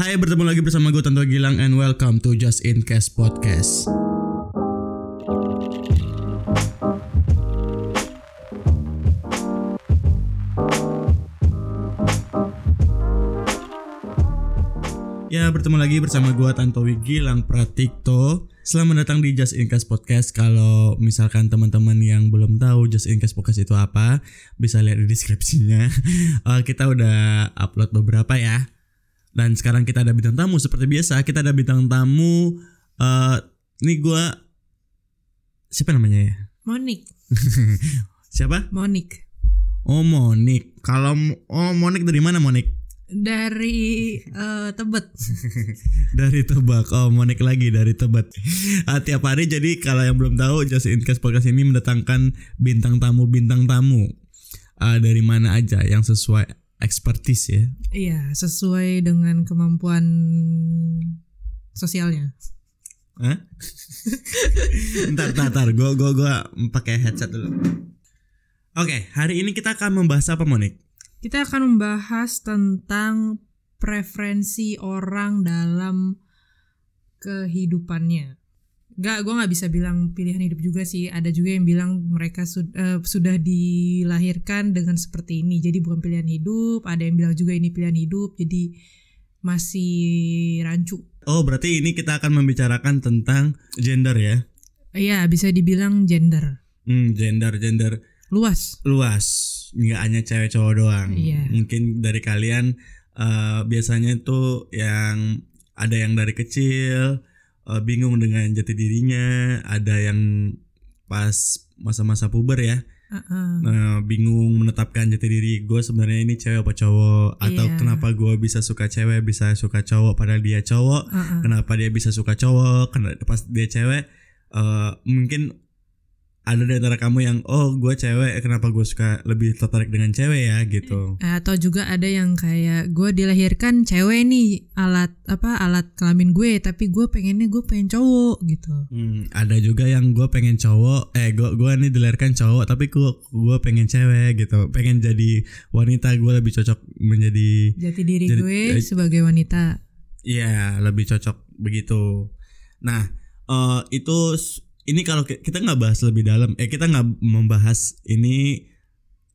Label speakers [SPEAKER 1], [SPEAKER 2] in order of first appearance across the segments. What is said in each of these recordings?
[SPEAKER 1] Hai bertemu lagi bersama gue Tanto Gilang and welcome to Just In Case Podcast Ya bertemu lagi bersama gue Tantowi Gilang Pratikto Selamat datang di Just In Case Podcast Kalau misalkan teman-teman yang belum tahu Just In Case Podcast itu apa Bisa lihat di deskripsinya Eh, Kita udah upload beberapa ya dan sekarang kita ada bintang tamu seperti biasa. Kita ada bintang tamu. eh ini gue siapa namanya ya?
[SPEAKER 2] Monik,
[SPEAKER 1] Siapa?
[SPEAKER 2] Monik
[SPEAKER 1] Oh Monik. Kalau oh Monik dari mana Monik?
[SPEAKER 2] dari eh, Tebet.
[SPEAKER 1] Dari Tebak. Oh Monik lagi dari Tebet. Ah, tiap hari jadi kalau yang belum tahu Just In Case Podcast ini mendatangkan bintang tamu bintang tamu Ah, dari mana aja yang sesuai expertise ya.
[SPEAKER 2] Iya, sesuai dengan kemampuan sosialnya.
[SPEAKER 1] Hah? ntar, ntar, ntar. Gue, gue, gue pakai headset dulu. Oke, hari ini kita akan membahas apa, Monik?
[SPEAKER 2] Kita akan membahas tentang preferensi orang dalam kehidupannya. Gak, gue nggak bisa bilang pilihan hidup juga sih. Ada juga yang bilang mereka sud- eh, sudah dilahirkan dengan seperti ini, jadi bukan pilihan hidup. Ada yang bilang juga ini pilihan hidup, jadi masih rancu.
[SPEAKER 1] Oh, berarti ini kita akan membicarakan tentang gender ya?
[SPEAKER 2] Iya, bisa dibilang gender.
[SPEAKER 1] Hmm, gender, gender
[SPEAKER 2] luas
[SPEAKER 1] luas. Nggak hanya cewek cowok doang.
[SPEAKER 2] Iya.
[SPEAKER 1] Mungkin dari kalian eh, biasanya tuh yang ada yang dari kecil eh, bingung dengan jati dirinya, ada yang pas masa-masa puber ya.
[SPEAKER 2] Heeh.
[SPEAKER 1] Nah, bingung menetapkan jati diri gue sebenarnya ini cewek apa cowok atau
[SPEAKER 2] Iya.
[SPEAKER 1] kenapa gue bisa suka cewek bisa suka cowok padahal dia cowok
[SPEAKER 2] Heeh.
[SPEAKER 1] Hmm. kenapa dia bisa suka cowok kenapa pas dia cewek eh, mungkin ada di antara kamu yang oh gue cewek kenapa gue suka lebih tertarik dengan cewek ya gitu
[SPEAKER 2] atau juga ada yang kayak gue dilahirkan cewek nih alat apa alat kelamin gue tapi gue pengennya gue pengen cowok gitu
[SPEAKER 1] Hmm, ada juga yang gue pengen cowok eh gue gua nih dilahirkan cowok tapi gue gue pengen cewek gitu pengen jadi wanita gue lebih cocok menjadi
[SPEAKER 2] jati diri
[SPEAKER 1] Jadi-
[SPEAKER 2] gue
[SPEAKER 1] eh,
[SPEAKER 2] sebagai wanita
[SPEAKER 1] Iya, lebih cocok begitu. Nah, eh itu s- ini kalau ki- kita nggak bahas lebih dalam, eh kita nggak membahas ini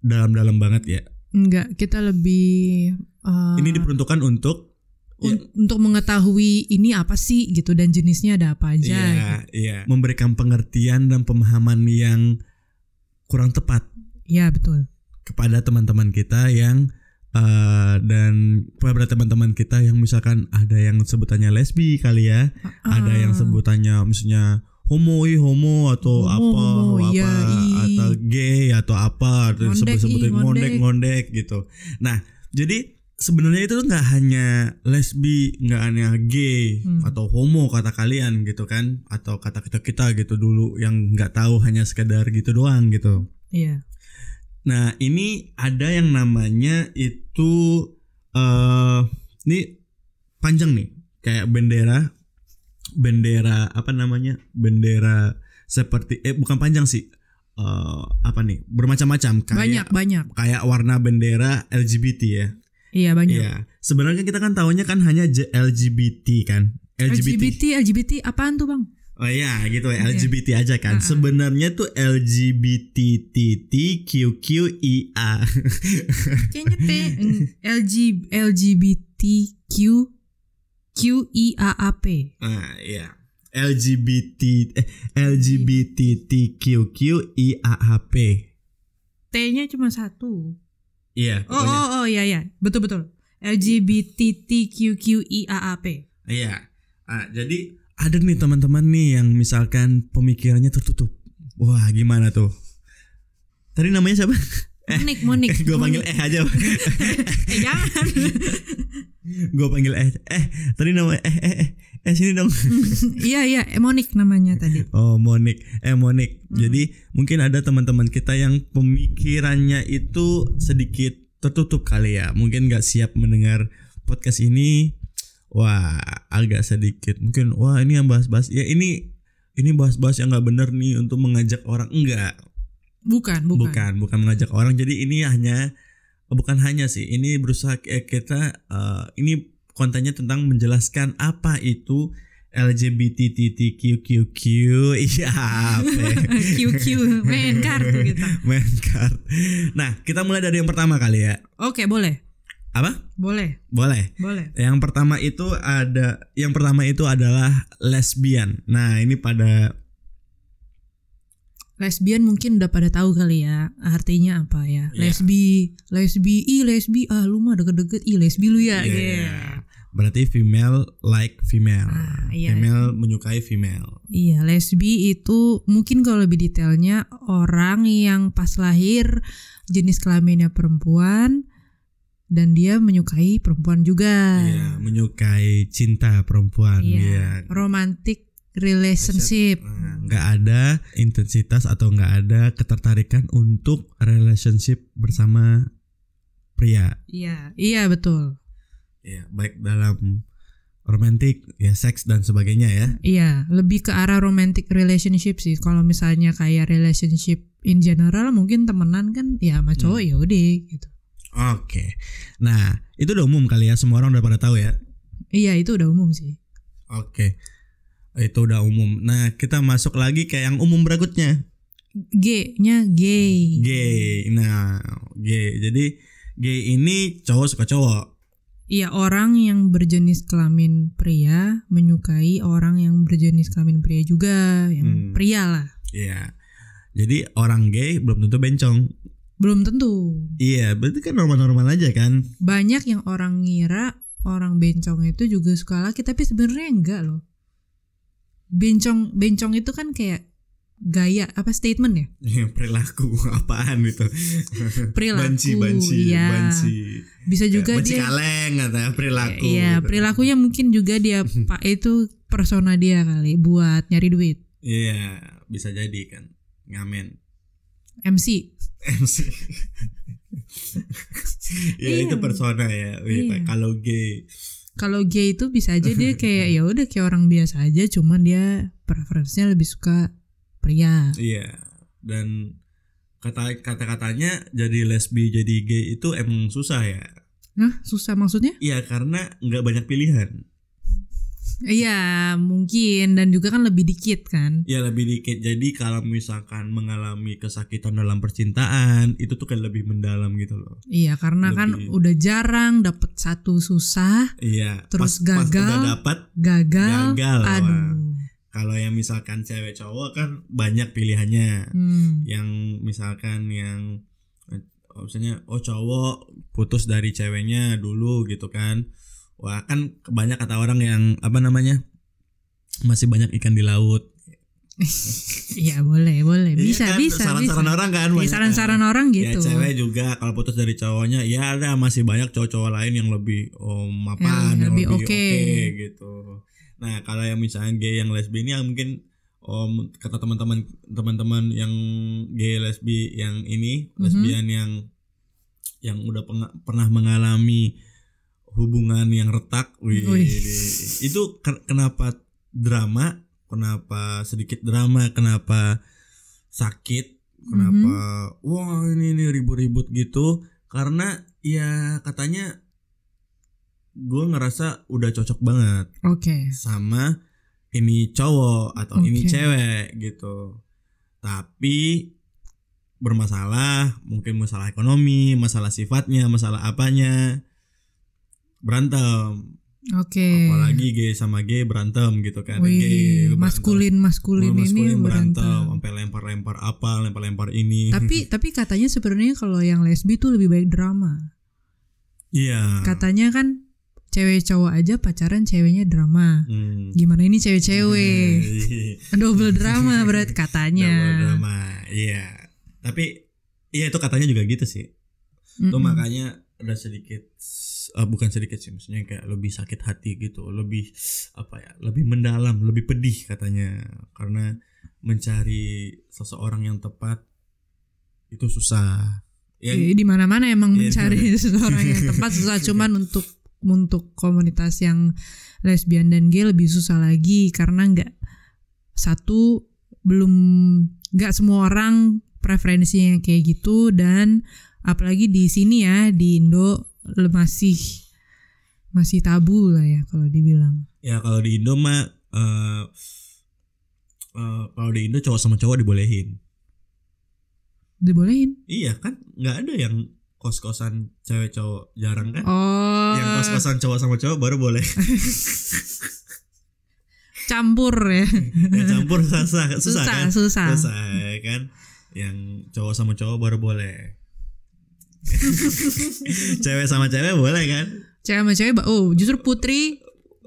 [SPEAKER 1] dalam-dalam banget ya.
[SPEAKER 2] enggak kita lebih eh,
[SPEAKER 1] Ini diperuntukkan untuk
[SPEAKER 2] un- untuk mengetahui ini apa sih gitu dan jenisnya ada apa aja gitu.
[SPEAKER 1] iya, iya, memberikan pengertian dan pemahaman yang kurang tepat
[SPEAKER 2] ya betul
[SPEAKER 1] kepada teman-teman kita yang eh dan kepada teman-teman kita yang misalkan ada yang sebutannya lesbi kali ya, ada yang
[SPEAKER 2] Ah.
[SPEAKER 1] sebutannya misalnya homo ih, homo atau
[SPEAKER 2] Homo,
[SPEAKER 1] apa
[SPEAKER 2] homo,
[SPEAKER 1] apa
[SPEAKER 2] iya, ih.
[SPEAKER 1] atau gay atau apa atau
[SPEAKER 2] Ngondek,
[SPEAKER 1] disebut-sebutin
[SPEAKER 2] ih,
[SPEAKER 1] ngondek
[SPEAKER 2] ngondek.
[SPEAKER 1] ngondek gitu nah jadi sebenarnya itu tuh nggak hanya lesbi nggak hanya gay
[SPEAKER 2] Hmm.
[SPEAKER 1] atau homo kata kalian gitu kan atau kata kita kita gitu dulu yang nggak tahu hanya sekedar gitu doang gitu
[SPEAKER 2] Iya.
[SPEAKER 1] nah ini ada yang namanya itu eh ini panjang nih kayak bendera bendera apa namanya bendera seperti eh bukan panjang sih Eh apa nih bermacam-macam kayak
[SPEAKER 2] banyak banyak
[SPEAKER 1] kayak warna bendera LGBT ya
[SPEAKER 2] iya banyak
[SPEAKER 1] Iya. sebenarnya kita kan tahunya kan hanya J- LGBT kan LGBT,
[SPEAKER 2] LGBT LGBT apaan tuh bang
[SPEAKER 1] oh iya gitu ya
[SPEAKER 2] Iya.
[SPEAKER 1] LGBT aja kan
[SPEAKER 2] Ah-ah.
[SPEAKER 1] sebenarnya tuh LGBTTTQQIA
[SPEAKER 2] Kayaknya P mm, LG, LGBTQ QIAAP.
[SPEAKER 1] ah iya LGBT eh, LGBTTQQIAHP
[SPEAKER 2] T-nya cuma satu.
[SPEAKER 1] iya
[SPEAKER 2] Oh
[SPEAKER 1] pokoknya.
[SPEAKER 2] oh oh iya iya, betul betul. LGBTQQIAAP.
[SPEAKER 1] Iya. Ah, jadi ada nih teman-teman nih yang misalkan pemikirannya tertutup. Wah, gimana tuh? Tadi namanya siapa?
[SPEAKER 2] Monik Monik.
[SPEAKER 1] Eh, gue panggil
[SPEAKER 2] Monik.
[SPEAKER 1] eh aja.
[SPEAKER 2] Eh, jangan.
[SPEAKER 1] gue panggil eh. Eh, tadi namanya eh eh eh, eh sini dong.
[SPEAKER 2] Iya iya, eh, Monik namanya tadi.
[SPEAKER 1] Oh, Monik. Eh, Monik. Jadi mungkin ada teman-teman kita yang pemikirannya itu sedikit tertutup kali ya. Mungkin nggak siap mendengar podcast ini. Wah, agak sedikit. Mungkin wah ini yang bahas-bahas. Ya ini ini bahas-bahas yang nggak bener nih untuk mengajak orang enggak.
[SPEAKER 2] Bukan, bukan.
[SPEAKER 1] Bukan, bukan mengajak orang. Jadi ini hanya bukan hanya sih. Ini berusaha eh, kita eh, ini kontennya tentang menjelaskan apa itu LGBTTQQQ iya apa
[SPEAKER 2] QQ main kartu kita.
[SPEAKER 1] main card. Nah, kita mulai dari yang pertama kali ya.
[SPEAKER 2] Oke, boleh.
[SPEAKER 1] Apa?
[SPEAKER 2] Boleh,
[SPEAKER 1] Boleh.
[SPEAKER 2] boleh.
[SPEAKER 1] Yang pertama itu ada yang pertama itu adalah lesbian. Nah, ini pada
[SPEAKER 2] Lesbian mungkin udah pada tahu kali ya artinya apa
[SPEAKER 1] Iya.
[SPEAKER 2] ya. Lesbi, lesbi, i lesbi, ah lu mah deket-deket i lesbi lu ya.
[SPEAKER 1] Iya,
[SPEAKER 2] Iya.
[SPEAKER 1] iya. berarti female like female.
[SPEAKER 2] Ah, iya.
[SPEAKER 1] Female menyukai female.
[SPEAKER 2] Iya, lesbi itu mungkin kalau lebih detailnya orang yang pas lahir jenis kelaminnya perempuan dan dia menyukai perempuan juga.
[SPEAKER 1] Iya, menyukai cinta perempuan
[SPEAKER 2] Hmm. Iya.
[SPEAKER 1] Iya.
[SPEAKER 2] Romantic relationship.
[SPEAKER 1] Nah, nggak ada intensitas atau nggak ada ketertarikan untuk relationship bersama pria.
[SPEAKER 2] Iya, iya betul.
[SPEAKER 1] ya baik dalam romantik ya seks dan sebagainya ya
[SPEAKER 2] Iya, lebih ke arah romantic relationship sih. Kalau misalnya kayak relationship in general mungkin temenan kan ya sama cowok ya udah gitu.
[SPEAKER 1] oke nah itu udah umum kali ya semua orang udah pada tahu ya
[SPEAKER 2] Iya, itu udah umum sih.
[SPEAKER 1] oke itu udah umum nah kita masuk lagi ke yang umum berikutnya
[SPEAKER 2] G-nya gay.
[SPEAKER 1] gay nah gay jadi gay ini cowok suka cowok
[SPEAKER 2] Iya orang yang berjenis kelamin pria menyukai orang yang berjenis kelamin pria juga, yang
[SPEAKER 1] Hmm.
[SPEAKER 2] pria lah.
[SPEAKER 1] Iya jadi orang gay belum tentu bencong
[SPEAKER 2] Belum tentu.
[SPEAKER 1] iya berarti kan normal-normal aja kan
[SPEAKER 2] Banyak yang orang ngira orang bencong itu juga suka laki tapi sebenarnya enggak loh. Bencong bencong itu kan kayak gaya apa statement ya?
[SPEAKER 1] Iya, perilaku apaan itu
[SPEAKER 2] Perilaku.
[SPEAKER 1] banci banci
[SPEAKER 2] iya.
[SPEAKER 1] banci
[SPEAKER 2] Bisa juga
[SPEAKER 1] Banci
[SPEAKER 2] dia
[SPEAKER 1] kaleng katanya perilaku.
[SPEAKER 2] Iya,
[SPEAKER 1] gitu.
[SPEAKER 2] perilakunya mungkin juga dia Pak E itu persona dia kali buat nyari duit.
[SPEAKER 1] Iya, bisa jadi kan. Ngamen.
[SPEAKER 2] MC.
[SPEAKER 1] MC. ya
[SPEAKER 2] Iya.
[SPEAKER 1] itu persona ya. Wih,
[SPEAKER 2] Iya.
[SPEAKER 1] Kalau gay.
[SPEAKER 2] kalau gay itu bisa aja dia kayak ya udah kayak orang biasa aja cuman dia preferensinya lebih suka pria
[SPEAKER 1] Iya. Dan kata kata-katanya jadi lesbi jadi gay itu emang susah ya.
[SPEAKER 2] nah susah maksudnya
[SPEAKER 1] Iya, karena nggak banyak pilihan.
[SPEAKER 2] iya mungkin dan juga kan lebih dikit kan
[SPEAKER 1] Ya lebih dikit. Jadi kalau misalkan mengalami kesakitan dalam percintaan, itu tuh kayak lebih mendalam gitu loh.
[SPEAKER 2] iya karena kan
[SPEAKER 1] Lebih.
[SPEAKER 2] udah jarang dapet satu susah
[SPEAKER 1] Iya.
[SPEAKER 2] Terus
[SPEAKER 1] pas,
[SPEAKER 2] gagal.
[SPEAKER 1] Pas udah dapat
[SPEAKER 2] gagal,
[SPEAKER 1] Gagal,
[SPEAKER 2] aduh
[SPEAKER 1] wah. kalau yang misalkan cewek cowok kan banyak pilihannya
[SPEAKER 2] Hmm.
[SPEAKER 1] yang misalkan yang eh, misalnya oh cowok putus dari ceweknya dulu gitu kan wah kan banyak kata orang yang apa namanya masih banyak ikan di laut
[SPEAKER 2] iya boleh boleh
[SPEAKER 1] Iya
[SPEAKER 2] bisa
[SPEAKER 1] kan?
[SPEAKER 2] bisa
[SPEAKER 1] saran-saran
[SPEAKER 2] bisa
[SPEAKER 1] orang kan
[SPEAKER 2] Iya,
[SPEAKER 1] banyak kan?
[SPEAKER 2] saran-saran orang
[SPEAKER 1] ya
[SPEAKER 2] gitu
[SPEAKER 1] cewek juga kalau putus dari cowoknya ya ada masih banyak cowok-cowok lain yang lebih oh, mapan
[SPEAKER 2] Yang
[SPEAKER 1] yang
[SPEAKER 2] lebih
[SPEAKER 1] lebih,
[SPEAKER 2] oke.
[SPEAKER 1] oke gitu nah kalau yang misalnya gay yang lesbi ini yang mungkin om kata teman-teman teman-teman yang gay lesbi yang ini
[SPEAKER 2] Mhm.
[SPEAKER 1] lesbian yang yang udah penga- pernah mengalami hubungan yang retak wih,
[SPEAKER 2] Wih.
[SPEAKER 1] itu ke- kenapa drama kenapa sedikit drama kenapa sakit kenapa
[SPEAKER 2] Mhm.
[SPEAKER 1] wah ini ini ribut-ribut gitu karena ya katanya gue ngerasa udah cocok banget
[SPEAKER 2] oke
[SPEAKER 1] sama ini cowok atau ini
[SPEAKER 2] Oke.
[SPEAKER 1] cewek gitu tapi bermasalah mungkin masalah ekonomi masalah sifatnya masalah apanya berantem
[SPEAKER 2] oke
[SPEAKER 1] apalagi gay sama gay berantem gitu kan gay
[SPEAKER 2] Wih,
[SPEAKER 1] berantem.
[SPEAKER 2] maskulin maskulin
[SPEAKER 1] Sama
[SPEAKER 2] ini
[SPEAKER 1] maskulin berantem
[SPEAKER 2] berantem
[SPEAKER 1] sampai lempar-lempar apa lempar-lempar ini
[SPEAKER 2] tapi tapi katanya sebenarnya kalau yang lesbi tuh lebih baik drama
[SPEAKER 1] iya
[SPEAKER 2] katanya kan cewek cowok aja pacaran ceweknya drama
[SPEAKER 1] Hmm.
[SPEAKER 2] gimana ini cewek-cewek
[SPEAKER 1] Iya.
[SPEAKER 2] double drama berarti
[SPEAKER 1] Double
[SPEAKER 2] katanya
[SPEAKER 1] drama, iya. Tapi iya itu katanya juga gitu sih. Itu
[SPEAKER 2] Mm-mm.
[SPEAKER 1] makanya ada sedikit eh, bukan sedikit sih maksudnya kayak lebih sakit hati gitu, lebih apa ya, lebih mendalam, lebih pedih katanya karena mencari seseorang yang tepat itu susah. Ya, Yang
[SPEAKER 2] Eh, di mana-mana emang
[SPEAKER 1] Iya,
[SPEAKER 2] mencari seseorang yang tepat susah cuman untuk untuk komunitas yang lesbian dan gay lebih susah lagi karena nggak satu belum nggak semua orang preferensinya kayak gitu dan apalagi di sini ya di Indo le- masih masih tabu lah ya kalau dibilang.
[SPEAKER 1] Ya kalau di Indo mah eh, eh, kalau di Indo cowok sama cowok dibolehin.
[SPEAKER 2] Dibolehin.
[SPEAKER 1] Iya kan nggak ada yang kos-kosan cewek cowok jarang kan?
[SPEAKER 2] Oh.
[SPEAKER 1] Yang kos-kosan cowok sama cowok baru boleh.
[SPEAKER 2] campur ya.
[SPEAKER 1] yang campur susah, susah, kan?
[SPEAKER 2] Susah, susah.
[SPEAKER 1] Susah ya kan? Yang cowok sama cowok baru boleh. cewek sama cewek boleh kan?
[SPEAKER 2] Cewek sama cewek, ba- oh justru putri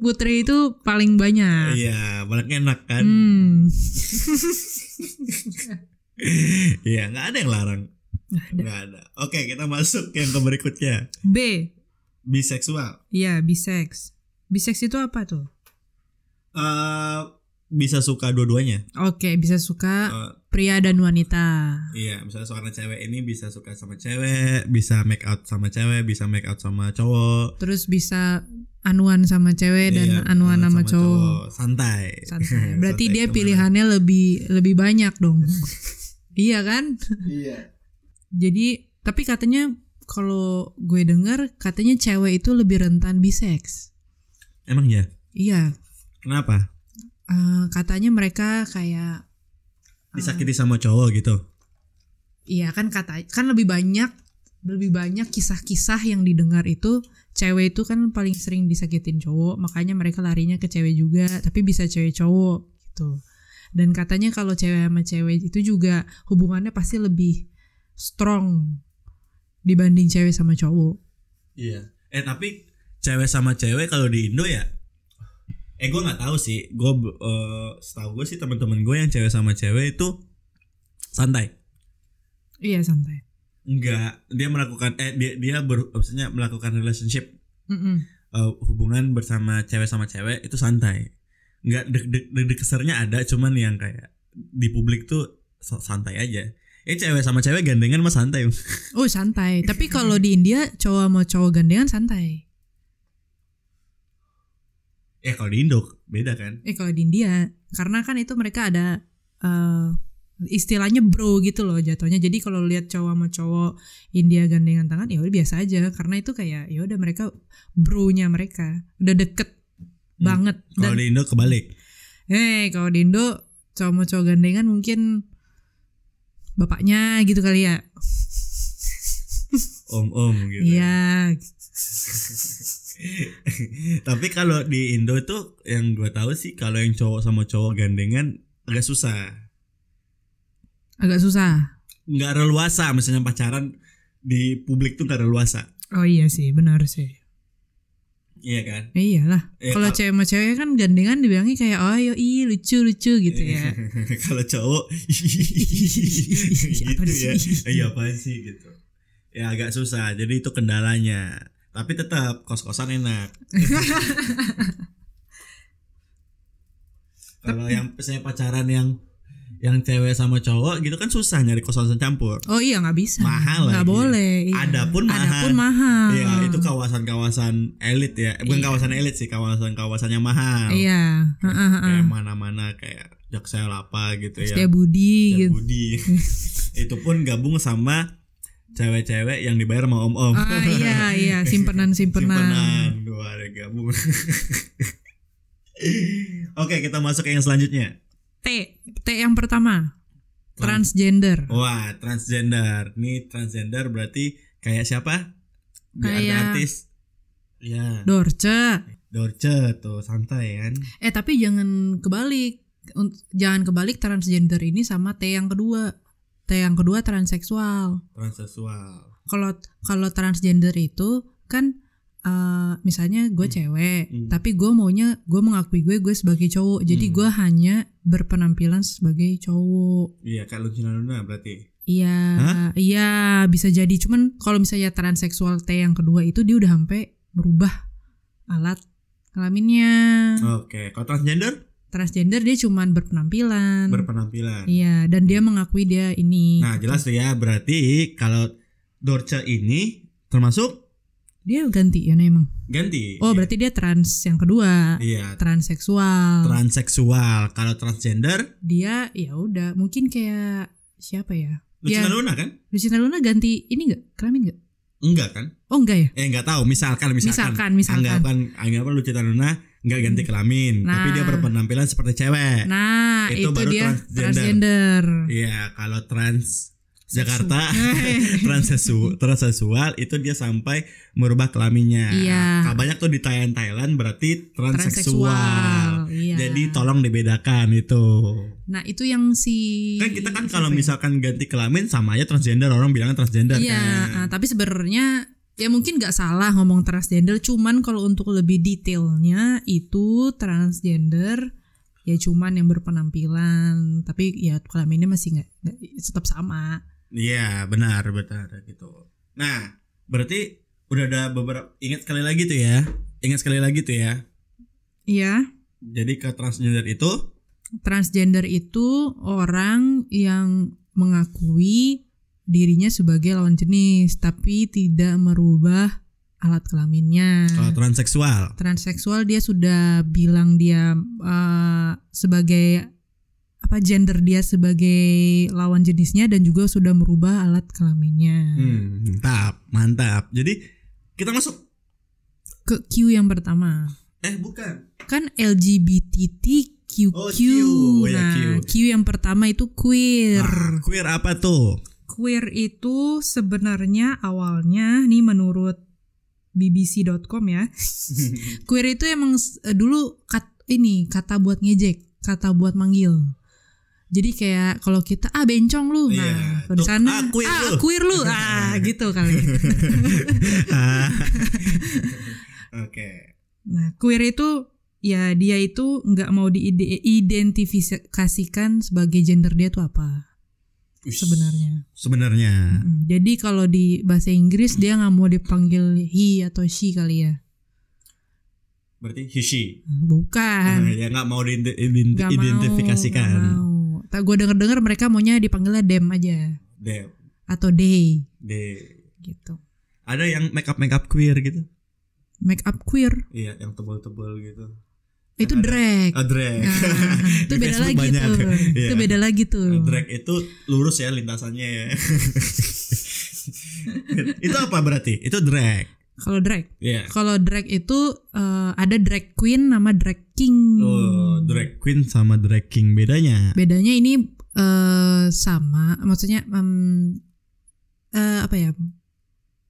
[SPEAKER 2] putri itu paling banyak.
[SPEAKER 1] Iya, paling enak kan?
[SPEAKER 2] Ah. Hmm.
[SPEAKER 1] Iya, nggak ada yang larang.
[SPEAKER 2] Nggak ada.
[SPEAKER 1] Nggak ada. Oke, kita masuk yang ke berikutnya.
[SPEAKER 2] B.
[SPEAKER 1] Biseksual.
[SPEAKER 2] Iya, bisex. Bisex itu apa tuh?
[SPEAKER 1] Eh bisa suka dua-duanya.
[SPEAKER 2] Oke, bisa suka
[SPEAKER 1] Eh,
[SPEAKER 2] pria dan wanita.
[SPEAKER 1] Iya, misalnya seorang cewek ini bisa suka sama cewek, bisa make out sama cewek, bisa make out sama cowok.
[SPEAKER 2] Terus bisa anuan sama cewek Eh, dan
[SPEAKER 1] Iya,
[SPEAKER 2] anuan sama, cowok.
[SPEAKER 1] Santai.
[SPEAKER 2] Santai. Berarti
[SPEAKER 1] Santai
[SPEAKER 2] dia
[SPEAKER 1] kemana.
[SPEAKER 2] pilihannya lebih lebih banyak dong. iya kan?
[SPEAKER 1] Iya.
[SPEAKER 2] Jadi tapi katanya kalau gue dengar katanya cewek itu lebih rentan bisex.
[SPEAKER 1] Emang ya?
[SPEAKER 2] Iya,
[SPEAKER 1] Kenapa?
[SPEAKER 2] eh, katanya mereka kayak
[SPEAKER 1] Disakiti sama cowok gitu.
[SPEAKER 2] Iya kan kata kan lebih banyak lebih banyak kisah-kisah yang didengar itu cewek itu kan paling sering disakitin cowok makanya mereka larinya ke cewek juga tapi bisa cewek cowok gitu dan katanya kalau cewek sama cewek itu juga hubungannya pasti lebih strong dibanding cewek sama cowok
[SPEAKER 1] Iya. Eh tapi cewek sama cewek kalau di Indo ya Eh gue nggak tahu sih. Gue eh, setahu gue sih teman-teman gue yang cewek sama cewek itu santai.
[SPEAKER 2] iya santai
[SPEAKER 1] Enggak, dia melakukan eh dia dia ber, maksudnya melakukan relationship
[SPEAKER 2] Mm-mm.
[SPEAKER 1] eh, hubungan bersama cewek sama cewek itu santai. Enggak deg-deg kesernya ada cuman yang kayak di publik tuh so- santai aja. Eh cewek sama cewek gandengan mah santai.
[SPEAKER 2] oh santai tapi kalau di India cowok sama cowok gandengan santai
[SPEAKER 1] ya kalau di Indo beda kan.
[SPEAKER 2] eh kalau di India karena kan itu mereka ada eh, istilahnya bro gitu loh jatuhnya jadi kalau lihat cowok sama cowok India gandengan tangan ya udah biasa aja karena itu kayak ya udah mereka bronya mereka udah deket banget
[SPEAKER 1] Hmm.
[SPEAKER 2] dan
[SPEAKER 1] Kalau di Indo kebalik.
[SPEAKER 2] eh kalau di Indo cowok sama cowok gandengan mungkin bapaknya gitu kali ya
[SPEAKER 1] Om-om gitu.
[SPEAKER 2] iya
[SPEAKER 1] Tapi kalau di Indo tuh yang gue tahu sih kalau yang cowok sama cowok gandengan agak susah.
[SPEAKER 2] agak susah
[SPEAKER 1] Nggak leluasa misalnya pacaran di publik tuh nggak leluasa.
[SPEAKER 2] oh iya sih benar sih
[SPEAKER 1] Iya kan?
[SPEAKER 2] Ya iyalah.
[SPEAKER 1] Ya,
[SPEAKER 2] kalau
[SPEAKER 1] kal-
[SPEAKER 2] cewek sama cewek kan gandengan dibilangnya kayak oh yo i lucu lucu gitu
[SPEAKER 1] Iya,
[SPEAKER 2] ya.
[SPEAKER 1] kalau cowok gitu
[SPEAKER 2] Apaan
[SPEAKER 1] ya.
[SPEAKER 2] sih?
[SPEAKER 1] Iya apaan sih gitu. Ya agak susah. Jadi itu kendalanya. Tapi tetap kos-kosan enak. kalau yang misalnya pacaran yang yang cewek sama cowok gitu kan susah nyari kos-kosan campur.
[SPEAKER 2] Oh iya nggak bisa.
[SPEAKER 1] Mahal
[SPEAKER 2] Nggak
[SPEAKER 1] lagi.
[SPEAKER 2] boleh. Iya.
[SPEAKER 1] Ada pun mahal.
[SPEAKER 2] Ada pun mahal.
[SPEAKER 1] Iya, itu kawasan-kawasan elit ya. Eh, Bukan
[SPEAKER 2] Hmm. Iya.
[SPEAKER 1] kawasan elit sih, kawasan-kawasan yang mahal.
[SPEAKER 2] Iya. Heeh, heeh.
[SPEAKER 1] Kayak mana-mana kayak Jaksel apa gitu ya.
[SPEAKER 2] Setia Budi
[SPEAKER 1] Ya,
[SPEAKER 2] gitu.
[SPEAKER 1] Budi. itu pun gabung sama cewek-cewek yang dibayar sama om-om.
[SPEAKER 2] Ah iya iya simpenan simpenan.
[SPEAKER 1] Simpenan. Dua ada gabung. Oke, kita masuk ke yang selanjutnya.
[SPEAKER 2] T T yang pertama transgender.
[SPEAKER 1] Wah, transgender. Nih transgender berarti kayak siapa? Di ada
[SPEAKER 2] Kayak-
[SPEAKER 1] artis. Ya,
[SPEAKER 2] Dorce.
[SPEAKER 1] Dorce tuh santai kan.
[SPEAKER 2] Eh tapi jangan kebalik. Un- Jangan kebalik transgender ini sama T yang kedua. T yang kedua transseksual.
[SPEAKER 1] Transseksual.
[SPEAKER 2] kalau kalau transgender itu kan eh, misalnya gue cewek
[SPEAKER 1] Hmm.
[SPEAKER 2] tapi gue maunya gue mengakui gue gue sebagai cowok jadi
[SPEAKER 1] Hmm.
[SPEAKER 2] gue hanya berpenampilan sebagai cowok
[SPEAKER 1] Iya, kayak Luncina Luna berarti.
[SPEAKER 2] iya
[SPEAKER 1] Hah?
[SPEAKER 2] iya bisa jadi cuman kalau misalnya transseksual T yang kedua itu dia udah sampai merubah alat kelaminnya Hmm.
[SPEAKER 1] Oke, kalau transgender
[SPEAKER 2] transgender dia cuman berpenampilan
[SPEAKER 1] berpenampilan.
[SPEAKER 2] iya dan dia mengakui dia ini
[SPEAKER 1] Nah jelas tuh ya berarti kalau Dorce ini termasuk
[SPEAKER 2] dia gantian emang
[SPEAKER 1] ganti.
[SPEAKER 2] oh berarti dia trans yang kedua
[SPEAKER 1] Iya
[SPEAKER 2] transseksual
[SPEAKER 1] transseksual. Kalau transgender
[SPEAKER 2] dia ya udah mungkin kayak siapa ya
[SPEAKER 1] Lucinta
[SPEAKER 2] Iya.
[SPEAKER 1] Luna kan?
[SPEAKER 2] Lucinta Luna ganti ini enggak kelamin enggak
[SPEAKER 1] Enggak kan?
[SPEAKER 2] Oh enggak ya?
[SPEAKER 1] Eh enggak tahu, misalkan misalkan.
[SPEAKER 2] Misalkan, misalkan.
[SPEAKER 1] Anggapan anggapan Lucinta Luna enggak ganti kelamin,
[SPEAKER 2] Nah.
[SPEAKER 1] tapi dia berpenampilan seperti cewek.
[SPEAKER 2] Nah
[SPEAKER 1] Itu
[SPEAKER 2] itu,
[SPEAKER 1] baru
[SPEAKER 2] dia
[SPEAKER 1] transgender.
[SPEAKER 2] transgender.
[SPEAKER 1] Iya, kalau trans Jakarta transseksu transseksual itu dia sampai merubah kelaminnya.
[SPEAKER 2] Iya.
[SPEAKER 1] Nah, Banyak tuh di Thailand Thailand berarti transseksual.
[SPEAKER 2] Transseksual. Iya.
[SPEAKER 1] Jadi tolong dibedakan itu.
[SPEAKER 2] Nah itu yang si
[SPEAKER 1] Kan kita kan
[SPEAKER 2] siapa
[SPEAKER 1] kalau
[SPEAKER 2] ya?
[SPEAKER 1] misalkan ganti kelamin sama aja transgender orang bilangnya transgender
[SPEAKER 2] Iya, ah,
[SPEAKER 1] kan.
[SPEAKER 2] tapi sebenarnya ya mungkin nggak salah ngomong transgender, cuman kalau untuk lebih detailnya itu transgender ya cuman yang berpenampilan, tapi ya kelaminnya masih nggak nggak- tetap sama.
[SPEAKER 1] Iya, benar benar gitu. Nah, berarti udah ada beberapa ingat sekali lagi tuh ya. Ingat sekali lagi tuh ya.
[SPEAKER 2] Iya,
[SPEAKER 1] Jadi ke transgender itu
[SPEAKER 2] transgender itu orang yang mengakui dirinya sebagai lawan jenis, tapi tidak merubah alat kelaminnya.
[SPEAKER 1] kalau transseksual.
[SPEAKER 2] transseksual dia sudah bilang dia eh, sebagai apa gender dia sebagai lawan jenisnya dan juga sudah merubah alat kelaminnya
[SPEAKER 1] Hmm, mantap, mantap. Jadi kita masuk
[SPEAKER 2] ke Q yang pertama
[SPEAKER 1] eh bukan.
[SPEAKER 2] kan LGBTQQ
[SPEAKER 1] Oh, Q. Oh, ya,
[SPEAKER 2] nah Q.
[SPEAKER 1] Q.
[SPEAKER 2] yang pertama itu queer
[SPEAKER 1] Ah, queer apa tuh?
[SPEAKER 2] queer itu sebenarnya awalnya nih menurut bbc.com ya queer itu emang s- eh, dulu kat, ini kata buat ngejek, kata buat manggil. Jadi kayak kalau kita ah bencong lu, nah
[SPEAKER 1] Iya,
[SPEAKER 2] kalau di
[SPEAKER 1] tuh,
[SPEAKER 2] sana
[SPEAKER 1] "Ah, queer lu."
[SPEAKER 2] queer lu, ah gitu kali.
[SPEAKER 1] Ah. Oke.
[SPEAKER 2] Nah queer itu ya dia itu nggak mau diidentifikasikan sebagai gender dia tuh apa
[SPEAKER 1] Ush,
[SPEAKER 2] sebenarnya.
[SPEAKER 1] Sebenarnya.
[SPEAKER 2] Mm, Jadi kalau di bahasa Inggris dia nggak mau dipanggil he atau she kali ya,
[SPEAKER 1] Berarti hishi.
[SPEAKER 2] bukan.
[SPEAKER 1] ya nggak mau diidentifikasikan.
[SPEAKER 2] Gak mau,
[SPEAKER 1] identifikasikan.
[SPEAKER 2] gak mau. Tak gue denger dengar mereka maunya dipanggilnya dem aja
[SPEAKER 1] Dep,
[SPEAKER 2] atau day
[SPEAKER 1] de-
[SPEAKER 2] gitu.
[SPEAKER 1] Ada yang make up make up queer gitu.
[SPEAKER 2] Make up queer
[SPEAKER 1] Iya, yang tebal-tebal gitu.
[SPEAKER 2] itu
[SPEAKER 1] ada-
[SPEAKER 2] drag.
[SPEAKER 1] Ah, drag.
[SPEAKER 2] Nah, itu
[SPEAKER 1] Di
[SPEAKER 2] beda
[SPEAKER 1] Facebook
[SPEAKER 2] lagi
[SPEAKER 1] banyak.
[SPEAKER 2] tuh.
[SPEAKER 1] Iya.
[SPEAKER 2] Itu beda lagi tuh.
[SPEAKER 1] Nah, Drag itu lurus ya lintasannya ya. itu apa berarti? Itu drag.
[SPEAKER 2] Kalau drag,
[SPEAKER 1] Iya.
[SPEAKER 2] kalau drag itu eh, ada drag queen nama drag king.
[SPEAKER 1] Oh,
[SPEAKER 2] Hmm.
[SPEAKER 1] drag queen sama drag king bedanya.
[SPEAKER 2] Bedanya ini eh sama, maksudnya em, eh, apa ya?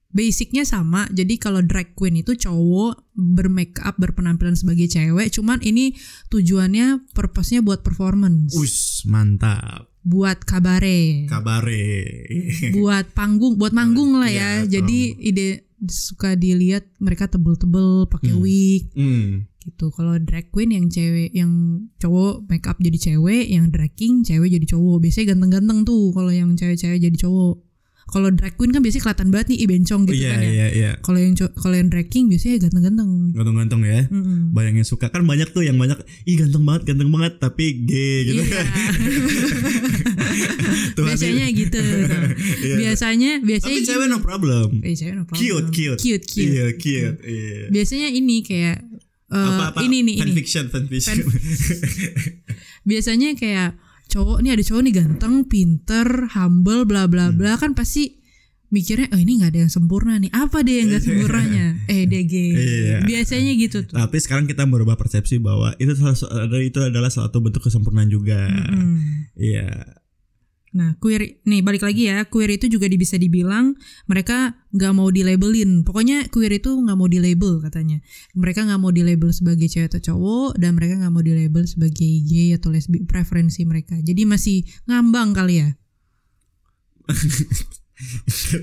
[SPEAKER 2] Basicnya sama. Jadi kalau drag queen itu cowok bermake up berpenampilan sebagai cewek, cuman ini tujuannya purpose-nya buat performance,
[SPEAKER 1] Us, mantap.
[SPEAKER 2] buat kabare,
[SPEAKER 1] Kabare.
[SPEAKER 2] buat panggung, buat manggung lah ya.
[SPEAKER 1] Iya,
[SPEAKER 2] Jadi ide suka dilihat mereka tebel-tebel pakai
[SPEAKER 1] Hmm.
[SPEAKER 2] wig
[SPEAKER 1] hmm.
[SPEAKER 2] gitu. Kalau drag queen yang cewek, yang cowok make up jadi cewek, yang drag king cewek jadi cowok. Biasanya ganteng-ganteng tuh kalau yang cewek-cewek jadi cowok. Kalau drag queen kan biasanya kelihatan banget nih ih, bencong gitu
[SPEAKER 1] Iya,
[SPEAKER 2] kan ya.
[SPEAKER 1] iya, iya.
[SPEAKER 2] Kalau yang co- kalau yang drag king biasanya ganteng-ganteng.
[SPEAKER 1] Ganteng-ganteng ya.
[SPEAKER 2] Mm-mm.
[SPEAKER 1] Banyak yang suka kan banyak tuh yang banyak ih ganteng banget, ganteng banget tapi gay gitu.
[SPEAKER 2] Iya.
[SPEAKER 1] Tuh,
[SPEAKER 2] biasanya
[SPEAKER 1] hati-
[SPEAKER 2] gitu.
[SPEAKER 1] Iya.
[SPEAKER 2] biasanya biasanya
[SPEAKER 1] Tapi
[SPEAKER 2] gini.
[SPEAKER 1] cewek no problem.
[SPEAKER 2] Eh, cewek no problem.
[SPEAKER 1] Cute, cute.
[SPEAKER 2] Cute, cute.
[SPEAKER 1] Iya, cute. Iya.
[SPEAKER 2] Biasanya ini kayak eh,
[SPEAKER 1] Apa-apa
[SPEAKER 2] ini nih ini.
[SPEAKER 1] fanfiction, fanfiction.
[SPEAKER 2] biasanya kayak cowok nih ada cowok nih ganteng, pinter, humble, bla bla bla kan pasti mikirnya oh ini nggak ada yang sempurna nih apa deh yang nggak sempurnanya eh DG
[SPEAKER 1] Iya.
[SPEAKER 2] biasanya gitu tuh
[SPEAKER 1] Tapi sekarang kita merubah persepsi bahwa itu salah su- ada- itu adalah suatu bentuk kesempurnaan juga.
[SPEAKER 2] Mm.
[SPEAKER 1] Iya.
[SPEAKER 2] nah queer nih balik lagi ya queer itu juga di- bisa dibilang mereka nggak mau dilabelin pokoknya queer itu nggak mau dilabel katanya mereka nggak mau dilabel sebagai cewek atau cowok dan mereka nggak mau dilabel sebagai gay atau lesbi preferensi mereka jadi masih ngambang kali ya